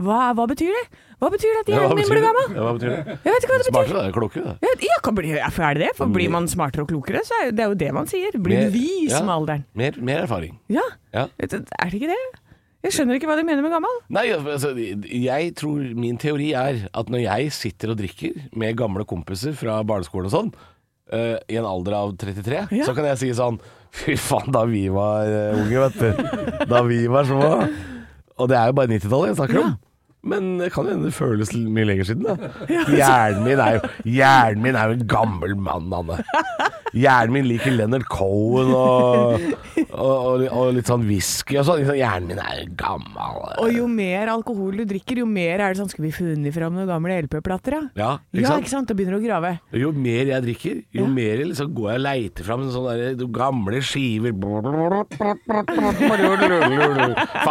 Speaker 3: Hva, hva betyr det? Hva betyr det at
Speaker 4: Ja, hva
Speaker 3: hjernen din blir
Speaker 4: betyr det?
Speaker 3: gammel?
Speaker 4: Ja, hva betyr det?
Speaker 3: Jeg vet ikke hva det betyr.
Speaker 4: Smartere, da. Klokere, da.
Speaker 3: Jeg vet- Ja, kan bli, ja, for er det det? For blir man smartere og klokere, så er jo- det er jo det man sier. Blir du
Speaker 4: Mer-
Speaker 3: vis
Speaker 4: ja,
Speaker 3: med alderen.
Speaker 4: Mer, mer erfaring.
Speaker 3: Ja.
Speaker 4: Ja.
Speaker 3: Vet du, Er det ikke det? Jeg skjønner ikke hva de mener med gammel.
Speaker 4: Nei, altså, jeg tror min teori er at når jeg sitter og drikker med gamle kompiser fra barneskolen og sånn, eh, i en alder av 33,
Speaker 3: Ja.
Speaker 4: så kan jeg si sånn Fy faen, da vi var eh, unge, vet du. Da vi var små. Og det er jo bare 90-tallet jeg snakker om. Men det kan jo hende det føles l- mye lenger siden, da. Hjernen min er jo Hjernen min er jo en gammel mann, Anne. Hjernen min liker Leonard Cohen og, og, og, og litt sånn whisky og sånn. Hjernen min er jo gammel.
Speaker 3: Og jo mer alkohol du drikker, jo mer er det sånn Skal vi funnet fram noen gamle LP-plater, ja?
Speaker 4: Ja,
Speaker 3: ikke sant?
Speaker 4: ikke sant?
Speaker 3: Ja, ikke sant? Da begynner du å grave.
Speaker 4: Jo mer jeg drikker, jo mer liksom går jeg og leiter fram sånne der, de gamle skiver Faen,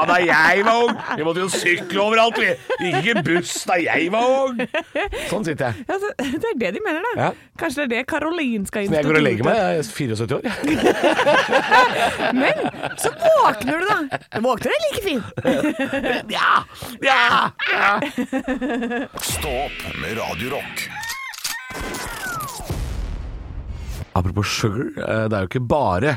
Speaker 4: da jeg var ung! Vi måtte jo sykle overalt, vi! Vi Gikk ikke buss da jeg var ung! Sånn sitter jeg.
Speaker 3: Ja, så, det er det de mener, da.
Speaker 4: Ja.
Speaker 3: Kanskje det er det Karolinska
Speaker 4: Men jeg går og legger meg,
Speaker 3: instituttet
Speaker 4: jeg er 74 år. jeg.
Speaker 3: Men så våkner du, da. Du våkner deg like fin.
Speaker 4: Ja! ja!
Speaker 2: Stå opp med Radio Rock.
Speaker 4: Apropos sugar, eh, det er jo ikke bare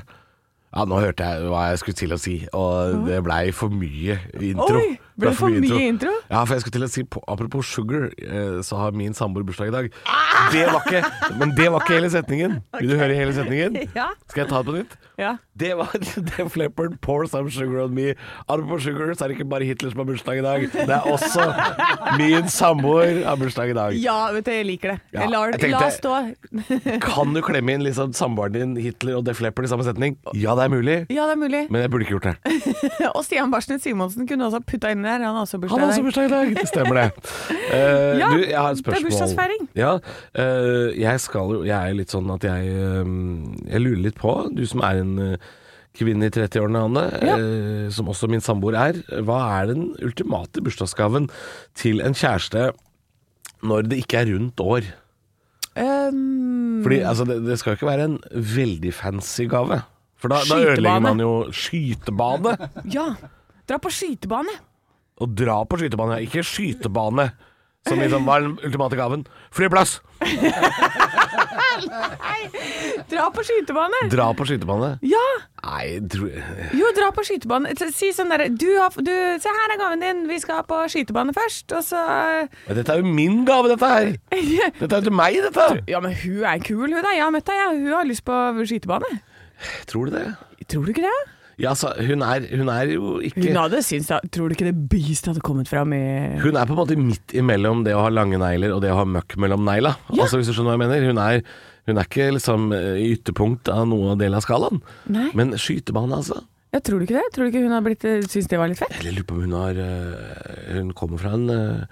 Speaker 4: ja, Nå hørte jeg hva jeg skulle til å si, og det blei for mye intro.
Speaker 3: Oi, ble det for mye intro?
Speaker 4: Ja, for jeg skulle til å si på, Apropos sugar, eh, så har min samboer bursdag i dag.
Speaker 3: Ah!
Speaker 4: Det var ikke, men det var ikke hele setningen. Vil du høre hele setningen?
Speaker 3: Ja.
Speaker 4: Skal jeg ta det på nytt?
Speaker 3: Ja.
Speaker 4: Det var Def Leppard, Pour Some Sugar On Me. Apropos sugar, så er det ikke bare Hitler som har bursdag i dag. Det er også min samboer har bursdag i dag.
Speaker 3: ja, vet du, jeg liker det.
Speaker 4: Ja,
Speaker 3: jeg lar,
Speaker 4: jeg tenkte-
Speaker 3: la stå.
Speaker 4: Kan du klemme inn liksom samboeren din, Hitler og Def Leppard i samme setning? Ja, det er mulig.
Speaker 3: Ja, det er mulig.
Speaker 4: Men jeg burde ikke gjort det.
Speaker 3: Og Stian Barsnes Simonsen kunne også putta inn der. Han har også
Speaker 4: Han
Speaker 3: bursdag
Speaker 4: har
Speaker 3: i
Speaker 4: også
Speaker 3: dag.
Speaker 4: bursdag i dag. Det stemmer det. Eh,
Speaker 3: Ja,
Speaker 4: du, jeg har et
Speaker 3: det er
Speaker 4: spørsmål.
Speaker 3: bursdagsfeiring.
Speaker 4: Ja, eh, jeg skal jo Jeg er litt sånn at jeg eh, Jeg lurer litt på, du som er en eh, kvinne i 30-årene, Anne,
Speaker 3: Ja.
Speaker 4: eh, som også min samboer er. Hva er den ultimate bursdagsgaven til en kjæreste når det ikke er rundt år?
Speaker 3: Um,
Speaker 4: Fordi altså, det, det skal jo ikke være en veldig fancy gave. For da, da
Speaker 3: Skytebane.
Speaker 4: ødelegger man jo skytebane.
Speaker 3: ja. Dra på skytebane.
Speaker 4: Å dra på skytebane, ja. ikke skytebane. Som liksom var den ultimate gaven. Flyplass!
Speaker 3: Dra på skytebane!
Speaker 4: Dra på skytebane.
Speaker 3: Ja!
Speaker 4: Nei, jeg tror
Speaker 3: Jo, dra på skytebane. Så- Si sånn derre du, har- du, Se, her er gaven din. Vi skal på skytebane først, og så eh,
Speaker 4: Men Dette er jo min gave, dette her! Dette er jo til meg, dette!
Speaker 3: Ja, men hun er kul, hun da. Jeg har møtt deg, jeg. Hun har lyst på skytebane.
Speaker 4: Tror du det?
Speaker 3: Tror du ikke det?
Speaker 4: Ja, altså, hun er, hun er jo
Speaker 3: Hun
Speaker 4: ikke
Speaker 3: hadde syntes da, Tror du ikke det beast hadde kommet fram i
Speaker 4: Hun er på en måte midt imellom det å ha lange negler og det å ha møkk mellom negla. Altså, hvis du skjønner hva jeg mener. Hun er, hun er ikke liksom eh, i ytterpunkt av noen del av skalaen.
Speaker 3: Nei.
Speaker 4: Men skytebane, altså.
Speaker 3: Ja, tror du ikke det? Tror du ikke hun har blitt, eh, syntes det var litt fett?
Speaker 4: Eller jeg lurer på om hun har eh, Hun kommer fra en eh,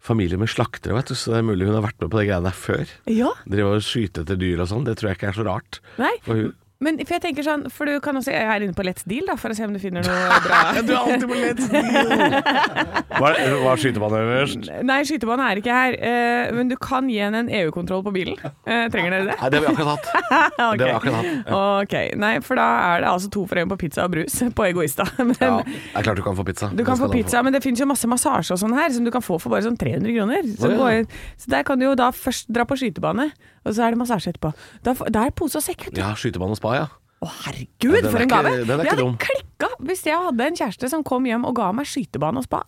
Speaker 4: familie med slaktere, vet du, så det er mulig hun har vært med på de greiene der før.
Speaker 3: Ja.
Speaker 4: Drive og skyte etter dyr og sånn, det tror jeg ikke er så rart.
Speaker 3: Nei.
Speaker 4: For hun
Speaker 3: Men for jeg tenker sånn, for du kan også Jeg er inne på Let's Deal, da, for å se om du finner noe bra.
Speaker 4: Du er alltid på lett Hva hva skyter man øverst?
Speaker 3: Nei, skytebane er ikke her, eh, men du kan gi henne en EU-kontroll på bilen. Eh, trenger dere det?
Speaker 4: Nei, det har vi akkurat hatt.
Speaker 3: Ja, ok.
Speaker 4: Det har vi akkurat hatt.
Speaker 3: Ok, nei, for da er det altså to for én på pizza og brus på Egoista. Men
Speaker 4: Ja, det er klart du kan få pizza.
Speaker 3: Du kan
Speaker 4: Det skal
Speaker 3: få pizza, men det finnes jo masse massasje og sånn her, som du kan få for bare sånn 300 kroner. Så,
Speaker 4: Å, ja.
Speaker 3: går- så der kan du jo da først dra på skytebane, og så er det massasje etterpå. Da, f- da er det pose og sekk, vet du.
Speaker 4: Ja, skytebane og spa, ja.
Speaker 3: Å, herregud,
Speaker 4: Ja, den
Speaker 3: for
Speaker 4: er
Speaker 3: en
Speaker 4: ikke-
Speaker 3: gave!
Speaker 4: den er
Speaker 3: det
Speaker 4: ikke
Speaker 3: hadde
Speaker 4: dum.
Speaker 3: klikka hvis jeg hadde en kjæreste som kom hjem og ga meg skytebane og spa.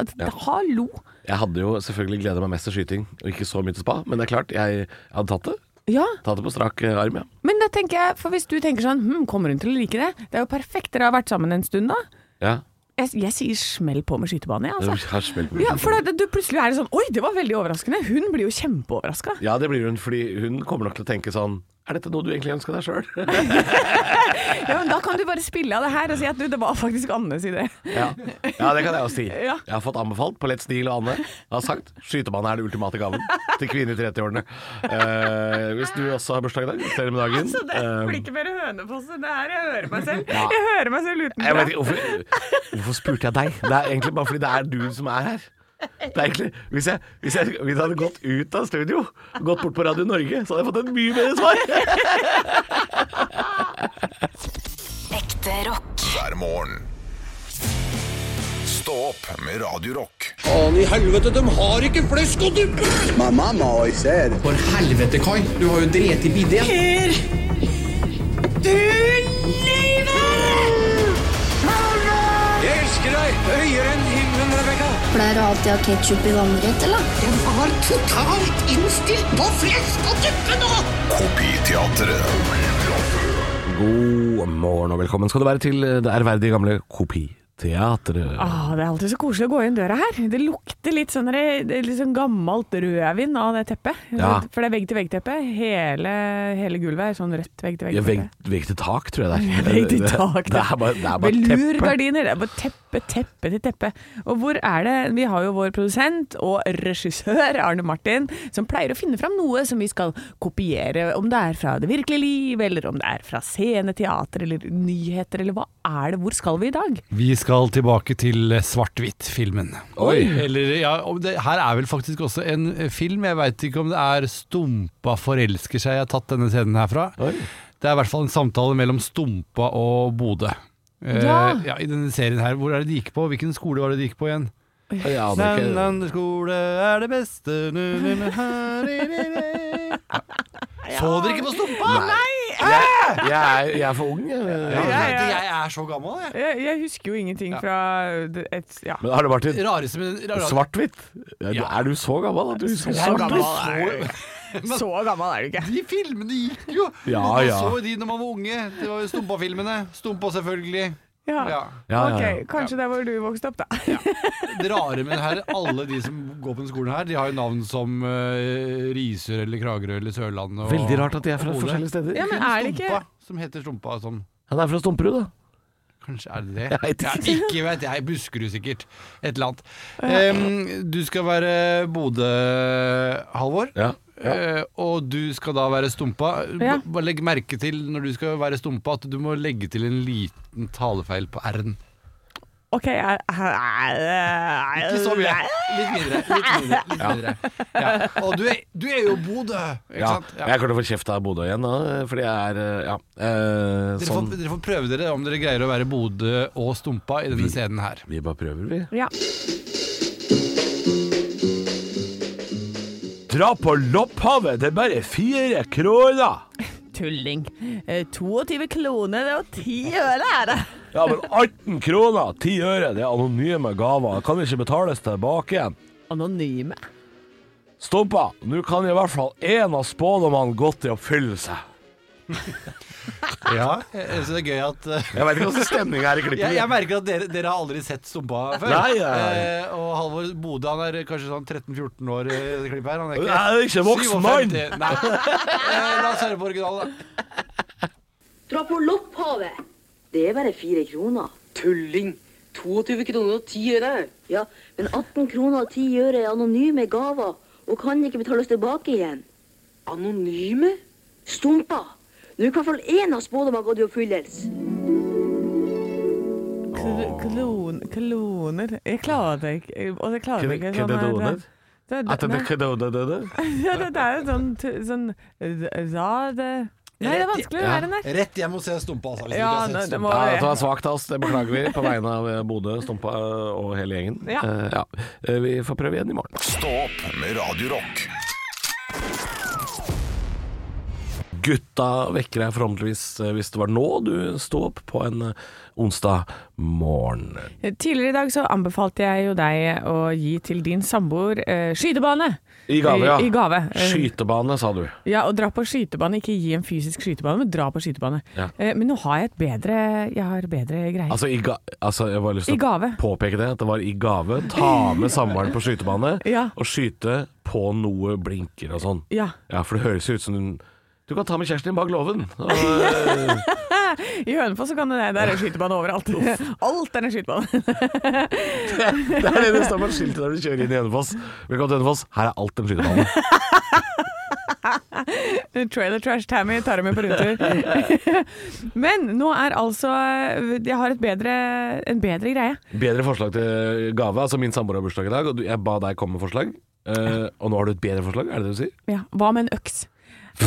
Speaker 3: Hallo!
Speaker 4: Jeg hadde jo selvfølgelig gleda meg mest til skyting, og ikke så mye til spa, men det er klart, jeg hadde tatt det.
Speaker 3: Ja,
Speaker 4: Tatt det på strak eh, arm, ja.
Speaker 3: men da tenker jeg, for hvis du tenker sånn hm, Kommer hun til å like det? Det er jo perfekt, dere har vært sammen en stund da.
Speaker 4: Ja.
Speaker 3: Jeg, jeg sier smell på med skytebane, jeg,
Speaker 4: Det
Speaker 3: altså.
Speaker 4: har smelt på
Speaker 3: Ja, for da, du plutselig er det sånn Oi, det var veldig overraskende! Hun blir jo kjempeoverraska.
Speaker 4: Ja, det blir hun, fordi hun kommer nok til å tenke sånn Er dette noe du egentlig ønska deg sjøl?
Speaker 3: Ja, men da kan du bare spille av det her og si at du, det var faktisk Annes idé.
Speaker 4: ja. ja, det kan jeg også si.
Speaker 3: Ja.
Speaker 4: Jeg har fått anbefalt på Let's Deal og Anne. Jeg har sagt skytebane er den ultimate gaven til kvinner i 30-årene. Eh, hvis du også har bursdag i dag, gratulerer med dagen.
Speaker 3: Altså, det
Speaker 4: Eh,
Speaker 3: blir ikke mer Hønefoss enn det her. Jeg hører meg selv.
Speaker 4: Ja.
Speaker 3: Jeg hører meg selv
Speaker 4: jeg vet
Speaker 3: utenfra.
Speaker 4: ikke, hvorfor, hvorfor spurte jeg deg? Det er egentlig bare fordi det er du som er her. Det er egentlig, hvis jeg, hvis jeg, hvis jeg hadde gått ut av studio, gått bort på Radio Norge, så hadde jeg fått et mye bedre svar.
Speaker 1: Ekte rock.
Speaker 2: hver morgen. Stå opp med Radio Rock.
Speaker 1: Faen i helvete, de har ikke flesk og duppe!
Speaker 7: My mama always said,
Speaker 1: For helvete, Kai. Du har jo drept i bidé. Jeg elsker deg høyere enn himmelen, Rebekka.
Speaker 8: Pleier du alltid å ha ketsjup i vannrett, eller?
Speaker 2: Kopiteatret.
Speaker 4: God morgen og velkommen skal du være til det ærverdige gamle Kopiteatret.
Speaker 3: Ah, det er alltid så koselig å gå inn døra her. Det lukter litt sånn der- det er litt sånn gammelt rødvin av det teppet.
Speaker 4: Ja.
Speaker 3: For det er vegg-til-vegg-teppe. Hele, hele gulvet er sånn rødt vegg-til-vegg.
Speaker 4: Ja, vegg, vegg til tak, tror jeg det er.
Speaker 3: Vegg til tak.
Speaker 4: Det er bare, det er bare
Speaker 3: Med
Speaker 4: teppe.
Speaker 3: lurgardiner. Det er bare teppe, teppe til teppe. Og hvor er det Vi har jo vår produsent og regissør Arne Martin, som pleier å finne fram noe som vi skal kopiere. Om det er fra det virkelige liv, eller om det er fra scene, teater eller nyheter, eller hva er det? Hvor skal vi i dag?
Speaker 9: Vi skal tilbake til eh, svart-hvitt-filmen.
Speaker 4: Oi.
Speaker 9: Eller, ja, og det, her er vel faktisk også en eh, film. Jeg veit ikke om det er 'Stumpa forelsker seg' jeg har tatt denne scenen herfra.
Speaker 4: Oi.
Speaker 9: Det er i hvert fall en samtale mellom Stumpa og Bodø. Eh,
Speaker 3: Ja.
Speaker 9: ja, I denne serien her, hvor er det de gikk på? Hvilken skole var det de gikk på igjen?
Speaker 4: Jeg aner ikke.
Speaker 9: Nanderskole er det beste nu, nu, nu, her, i, i, i. Så dere ikke på Stumpa?
Speaker 4: Jeg, er- jeg er for ung. jeg.
Speaker 9: Ja,
Speaker 3: Ja, ja.
Speaker 9: Jeg er så gammel, jeg.
Speaker 3: Jeg, jeg husker jo ingenting fra det- et Ja.
Speaker 4: Men Arne Martin,
Speaker 9: Rareste, men rareste.
Speaker 4: svart-hvitt? Ja, du- Er du så gammel at du husker
Speaker 9: Jeg er
Speaker 4: svart-hvitt?
Speaker 9: gammel, jeg.
Speaker 3: Så gammel er du ikke.
Speaker 9: De filmene gikk jo!
Speaker 4: Ja,
Speaker 9: man
Speaker 4: ja.
Speaker 9: så jo de når man var unge. Det var jo Stumpa-filmene. Stumpa, selvfølgelig.
Speaker 3: Ja.
Speaker 9: Ja.
Speaker 4: Ja, ja, ja.
Speaker 3: Ok, kanskje der hvor du vokste opp, da.
Speaker 9: Det rare med det her, alle de som går på den skolen her, de har jo navn som eh, Risør eller Kragerø eller Sørlandet. og-
Speaker 4: Veldig rart at de er fra
Speaker 9: og Bodø.
Speaker 4: forskjellige steder.
Speaker 3: Ja, men
Speaker 9: Kun
Speaker 3: er det ikke
Speaker 9: Stumpa, som heter Stumpa. Som,
Speaker 4: Han er fra Stumperud, da.
Speaker 9: kanskje er det det?
Speaker 4: Jeg vet
Speaker 9: Ja,
Speaker 4: ikke.
Speaker 9: ikke vet jeg. Buskerud, sikkert. Et eller annet. Em, du skal være Bodø, Halvor.
Speaker 4: Ja.
Speaker 9: Eh, og du skal da være stumpa. B-
Speaker 3: Ja.
Speaker 9: Bare legg merke til når du skal være stumpa at du må legge til en liten talefeil på r-en.
Speaker 3: OK, jeg, jeg,
Speaker 9: Ikke så mye. Litt mindre. Litt mindre, litt mindre. Ja. Og du er, du er jo Bodø, ikke
Speaker 4: Ja,
Speaker 9: sant?
Speaker 4: jeg kommer til å få kjeft av Bodø igjen, da, fordi jeg er eh, Ja. eh,
Speaker 9: Dere,
Speaker 4: Sånn.
Speaker 9: får, dere får prøve dere om dere greier å være Bodø og stumpa i denne scenen her.
Speaker 4: Vi bare prøver, vi.
Speaker 3: Ja.
Speaker 4: Dra på Lopphavet, det er bare fire kroner!
Speaker 3: Tulling. Eh, 22 kroner og 10 øre er det.
Speaker 4: Ja, men 18 kroner, 10 øre, det er anonyme gaver. Det kan ikke betales tilbake igjen.
Speaker 3: Anonyme.
Speaker 4: Stumpa, nå kan i hvert fall én av spådommene gått i oppfyllelse.
Speaker 9: Ja. Jeg synes det er gøy at eh,
Speaker 4: Jeg veit ikke hvordan stemninga er i
Speaker 9: jeg, jeg merker at dere, dere har aldri sett Stumpa før.
Speaker 4: Nei, nei, nei.
Speaker 9: Eh, og Halvor Bodø han er kanskje sånn 13-14 år eh, i det klippet her. Han er ikke,
Speaker 4: Jeg er ikke voksen mann!
Speaker 9: 57. Nei. Eh, La oss høre på originalen, da.
Speaker 10: Dra på Lopphavet. Det er bare fire kroner. Tulling. 22 kroner og 10 øre. Ja, men 18 kroner og 10 øre er anonyme gaver og kan ikke betales tilbake igjen. Anonyme? Stumpa. Nå kan i hvert fall én av spådommene gå til oppfyllelse.
Speaker 3: Kl- Klon, kloner Jeg klarer det ikke. Og det klarer jeg ikke sånn her.
Speaker 4: Kedoner?
Speaker 3: Det,
Speaker 4: At
Speaker 3: det,
Speaker 4: det
Speaker 3: nei,
Speaker 4: er kedoner?
Speaker 3: ja, det, det er jo sånn, t- sånn Ja, det Nei, det er vanskelig å
Speaker 4: Ja.
Speaker 3: være den der.
Speaker 9: Rett hjem og se Stumpa, altså. Hvis
Speaker 3: Ja,
Speaker 9: du
Speaker 3: nei,
Speaker 9: ikke har sett
Speaker 3: det
Speaker 9: Stumpa.
Speaker 3: må
Speaker 4: Ja, det
Speaker 3: være
Speaker 4: var svakt av oss, det beklager vi på vegne av eh, Bodø, Stumpa eh, og hele gjengen.
Speaker 3: Ja.
Speaker 4: Eh, ja. Eh, Vi får prøve igjen i morgen.
Speaker 2: Stå opp med Radio Rock.
Speaker 4: Gutta vekker deg forhåpentligvis eh, hvis det var nå du sto opp på en eh, onsdag morgen.
Speaker 3: Tidligere i dag så anbefalte jeg jo deg å gi til din samboer eh, skytebane.
Speaker 4: I gave, ja.
Speaker 3: I, i gave. Eh,
Speaker 4: Skytebane, sa du.
Speaker 3: Ja, og dra på skytebane. Ikke gi en fysisk skytebane, men dra på skytebane.
Speaker 4: Ja.
Speaker 3: Eh, men nå har jeg et bedre Jeg har bedre greier.
Speaker 4: Altså, i ga altså jeg bare har lyst
Speaker 3: I
Speaker 4: til å
Speaker 3: gave.
Speaker 4: påpeke det. At det var i gave. Ta med samboeren på skytebane,
Speaker 3: Ja.
Speaker 4: og skyte på noe blinker og sånn.
Speaker 3: Ja.
Speaker 4: Ja, for det høres jo ut som hun Du kan ta med kjæresten din bak låven. Og, eh,
Speaker 3: I Hønefoss så kan det Der er skytebane overalt. Alt er en skytebane.
Speaker 4: det er det det står på skiltet når du kjører inn i Hønefoss. Velkommen til Hønefoss, her er alt en skytebane.
Speaker 3: Trailer Trash Tammy tar dem med på rundtur. men nå er altså Jeg har et bedre, en bedre greie.
Speaker 4: Bedre forslag til gave. Altså, min samboer har bursdag i dag, og du- jeg ba deg komme med forslag. Eh, og nå har du et bedre forslag, er det det du sier?
Speaker 3: Ja, hva med en øks?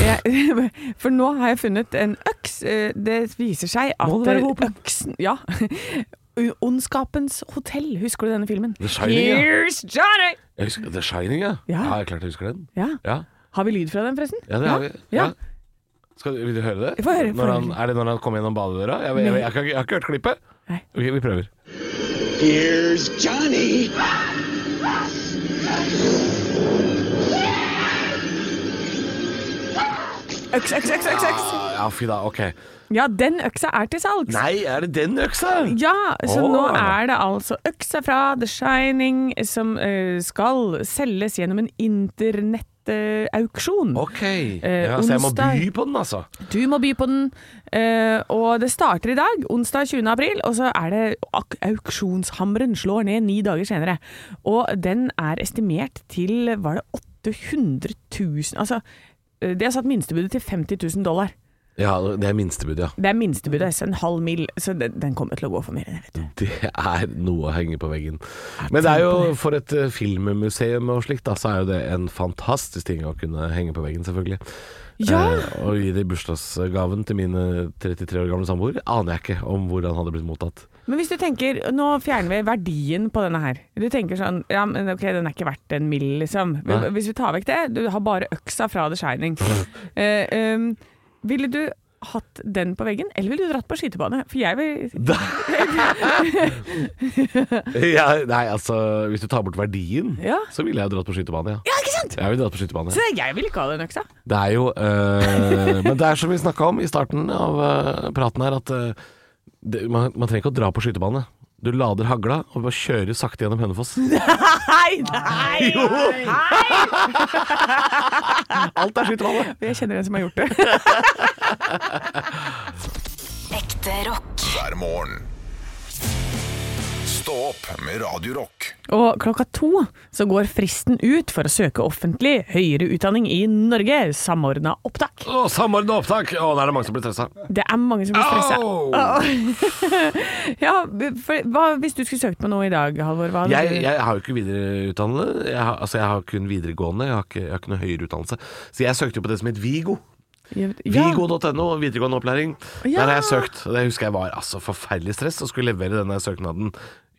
Speaker 3: Jeg, for nå har jeg funnet en øks. Eh, Det viser seg at
Speaker 4: Må det være våpen?
Speaker 3: øksen Ja. U- Ondskapens hotell, husker du denne filmen?
Speaker 4: The Shining, ja.
Speaker 3: Here's Johnny!
Speaker 4: Jeg husker The Shining, ja.
Speaker 3: Ja.
Speaker 4: ja klart jeg husker den.
Speaker 3: Ja.
Speaker 4: Ja,
Speaker 3: Har vi lyd fra den, forresten?
Speaker 4: ja det har vi.
Speaker 3: Ja.
Speaker 4: Ja. Skal, vil du høre det?
Speaker 3: Få høre, få
Speaker 4: Når han,
Speaker 3: høre.
Speaker 4: er det når han kommer gjennom badedøra? Jeg, jeg, jeg, jeg, jeg, jeg har ikke hørt klippet.
Speaker 3: Nei.
Speaker 4: Ok, vi prøver.
Speaker 7: Here's Johnny.
Speaker 3: Øks, øks, øks, øks, øks.
Speaker 4: Ah, ja, fy da. Ok.
Speaker 3: Ja, den øksa er til salgs.
Speaker 4: Nei, er det den øksa?
Speaker 3: Ja, så
Speaker 4: Åh.
Speaker 3: nå er det altså øksa fra The Shining som eh, skal selges gjennom en internettauksjon.
Speaker 4: Ok.
Speaker 3: Eh,
Speaker 4: Ja, så jeg må
Speaker 3: onsdag.
Speaker 4: by på den, altså.
Speaker 3: Du må by på den. eh, og det starter i dag, onsdag 20. april, og så er det ak auksjonshammeren slår ned ni dager senere. Og den er estimert til, var det 800 000 Altså, eh, de har satt minstebudet til 50 000 dollar.
Speaker 4: Ja, det er minstebud, ja.
Speaker 3: Det er minstebudet, så en halv mil. Så den, den kommer til å gå for mer enn det, vet du.
Speaker 4: Det er noe å henge på veggen. Men det er jo for et eh, filmmuseum og slikt, da, så er jo det en fantastisk ting å kunne henge på veggen, selvfølgelig.
Speaker 3: Ja.
Speaker 4: Eh, og i det i bursdagsgaven til mine 33 år gamle samboer aner jeg ikke om hvordan han hadde blitt mottatt.
Speaker 3: Men hvis du tenker, nå fjerner vi verdien på denne her. Du tenker sånn, ja, men ok, den er ikke verdt en mill, liksom.
Speaker 4: Nei.
Speaker 3: Hvis vi tar vekk det, du har bare øksa fra The Shining. Eh, um, ville du hatt den på veggen, eller ville du dratt på skytebane? For jeg vil...
Speaker 4: ja, nei, altså, hvis du tar bort verdien,
Speaker 3: Ja.
Speaker 4: så ville jeg dratt på skytebane, ja.
Speaker 3: Ja, ikke sant?
Speaker 4: Jeg ville dratt på skytebane.
Speaker 3: Så jeg vil ikke ha den øksa.
Speaker 4: Det er jo eh, Men det er som vi snakka om i starten av eh, praten her, at eh, det, man, man trenger ikke å dra på skytebane. Du lader hagla og bare kjører sakte gjennom Hønefoss.
Speaker 3: Nei, nei!
Speaker 4: Alt er skytebane!
Speaker 3: Jeg kjenner en som har gjort det.
Speaker 11: Ekte rock.
Speaker 2: hver morgen. Stå opp med Radio Rock.
Speaker 3: Og klokka to så går fristen ut for å søke offentlig høyere utdanning i Norge. Samordnet opptak.
Speaker 4: Å, Samordna opptak! Å, da er det mange som blir stressa.
Speaker 3: Det er mange som blir stressa.
Speaker 4: Au!
Speaker 3: ja, for, hva, hvis du skulle søkt på noe i dag, Halvor? Hva hadde
Speaker 4: Jeg,
Speaker 3: du-
Speaker 4: jeg har jo ikke videreutdannede. Jeg har, altså, jeg har kun videregående. Jeg har ikke, jeg har ikke noe høyere utdannelse. Så jeg søkte jo på det som het Vigo.
Speaker 3: ja,
Speaker 4: Vigo.no, videregående opplæring.
Speaker 3: Ja.
Speaker 4: Der har jeg søkt. Og Det husker jeg var altså forferdelig stress å skulle levere denne søknaden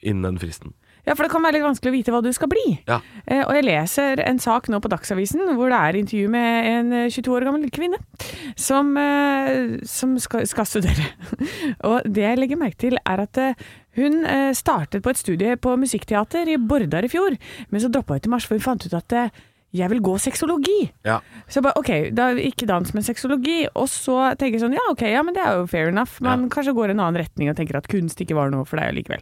Speaker 4: innen den fristen.
Speaker 3: ja, for det kan være litt vanskelig å vite hva du skal bli.
Speaker 4: Ja.
Speaker 3: Eh, og jeg leser en sak nå på Dagsavisen hvor det er intervju med en eh, 22 år gammel kvinne som, eh, som skal, skal studere. og det jeg legger merke til er at eh, hun eh, startet på et studie på musikkteater i Bordar i fjor, men så droppa hun til mars, for hun fant ut at eh, jeg vil gå sexologi.
Speaker 4: Ja.
Speaker 3: Så jeg bare, ok, da ikke dans, men sexologi. Og så tenker jeg sånn, ja ok, ja, men det er jo fair enough. Man kanskje går en annen retning og tenker at kunst ikke var noe for deg likevel.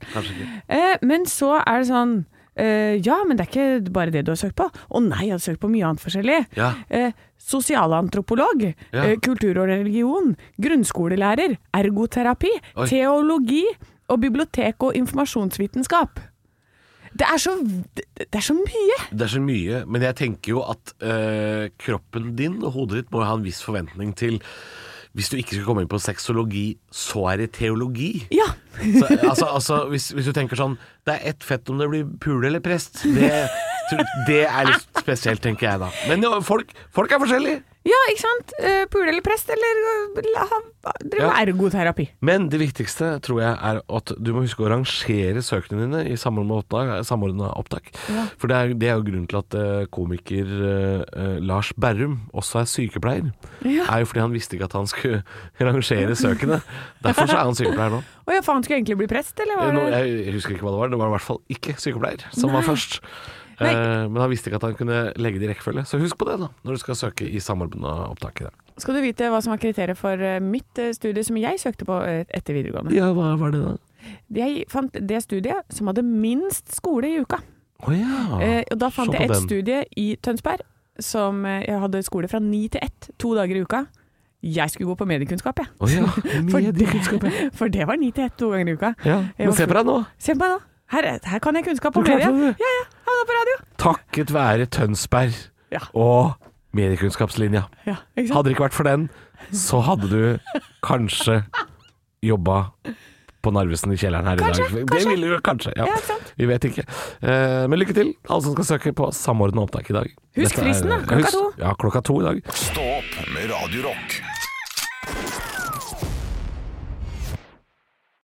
Speaker 3: Eh, men så er det sånn, eh, ja, men det er ikke bare det du har søkt på. Å nei, jeg har søkt på mye annet forskjellig.
Speaker 4: Ja.
Speaker 3: Eh, sosialantropolog,
Speaker 4: Ja.
Speaker 3: eh, kultur og religion, grunnskolelærer, ergoterapi,
Speaker 4: Oi.
Speaker 3: teologi og bibliotek og informasjonsvitenskap. Det er så, det er så mye.
Speaker 4: Det er så mye, men jeg tenker jo at øh, kroppen din og hodet ditt må jo ha en viss forventning til Hvis du ikke skal komme inn på sexologi, så er det teologi.
Speaker 3: Ja.
Speaker 4: Så, altså, altså hvis, hvis du tenker sånn Det er ett fett om det blir pule eller prest. Det, det er litt spesielt, tenker jeg da. Men jo, folk, folk er forskjellige.
Speaker 3: Ja, ikke sant? Eh, Pule eller prest, eller eh, la- ha- drive med
Speaker 4: Ja.
Speaker 3: ergoterapi.
Speaker 4: Men det viktigste tror jeg er at du må huske å rangere søkene dine i samordna opptak. samordnet opptak. For det er, det er jo grunnen til at eh, komiker eh, eh, Lars Berrum også er sykepleier. er jo fordi han visste ikke at han skulle rangere søkene. Derfor så er han sykepleier nå.
Speaker 3: Å ja, faen, skulle jeg egentlig bli prest, eller?
Speaker 4: Eh,
Speaker 3: Var
Speaker 4: nå-
Speaker 3: det?
Speaker 4: Jeg husker ikke hva det var, det var i hvert fall ikke sykepleier som var først.
Speaker 3: Nei.
Speaker 4: Eh, Men han visste ikke at han kunne legge det i rekkefølge. Så husk på det da, når du skal søke i samordna opptak. i dag.
Speaker 3: Skal du vite hva som var kriteriet for eh, mitt eh, studie som jeg søkte på eh, etter videregående?
Speaker 4: Ja, hva var det da?
Speaker 3: Jeg fant det studiet som hadde minst skole i uka.
Speaker 4: Å ja.
Speaker 3: Eh, og da fant
Speaker 4: Ah, se
Speaker 3: jeg
Speaker 4: på
Speaker 3: et
Speaker 4: den.
Speaker 3: studie i Tønsberg som eh, jeg hadde skole fra ni til ett, to dager i uka. Jeg skulle gå på mediekunnskap, jeg.
Speaker 4: Å ja.
Speaker 3: For
Speaker 4: Mediekunnskap,
Speaker 3: det, for det var ni til ett to ganger i uka.
Speaker 4: Ja,
Speaker 3: Jeg var
Speaker 4: men se på deg nå.
Speaker 3: Se på meg nå. Her, er- her kan jeg kunnskap om
Speaker 4: Du klarte
Speaker 3: media.
Speaker 4: det.
Speaker 3: Ja, ja. Havna på radio.
Speaker 4: Takket være Tønsberg
Speaker 3: Ja.
Speaker 4: og mediekunnskapslinja.
Speaker 3: Ja, ikke sant?
Speaker 4: Hadde det ikke vært for den, så hadde du kanskje jobba på Narvesen i kjelleren her
Speaker 3: Kanskje,
Speaker 4: i dag.
Speaker 3: kanskje.
Speaker 4: Det ville du kanskje. Ja.
Speaker 3: Ja, ikke sant?
Speaker 4: Vi vet ikke. Eh, Men lykke til, alle som skal søke på samordna opptak i dag.
Speaker 3: Husk
Speaker 4: Dette er-
Speaker 3: fristen, da, klokka
Speaker 4: Husk-
Speaker 3: to.
Speaker 4: Ja, klokka to i dag.
Speaker 2: Stå opp med Radio Rock.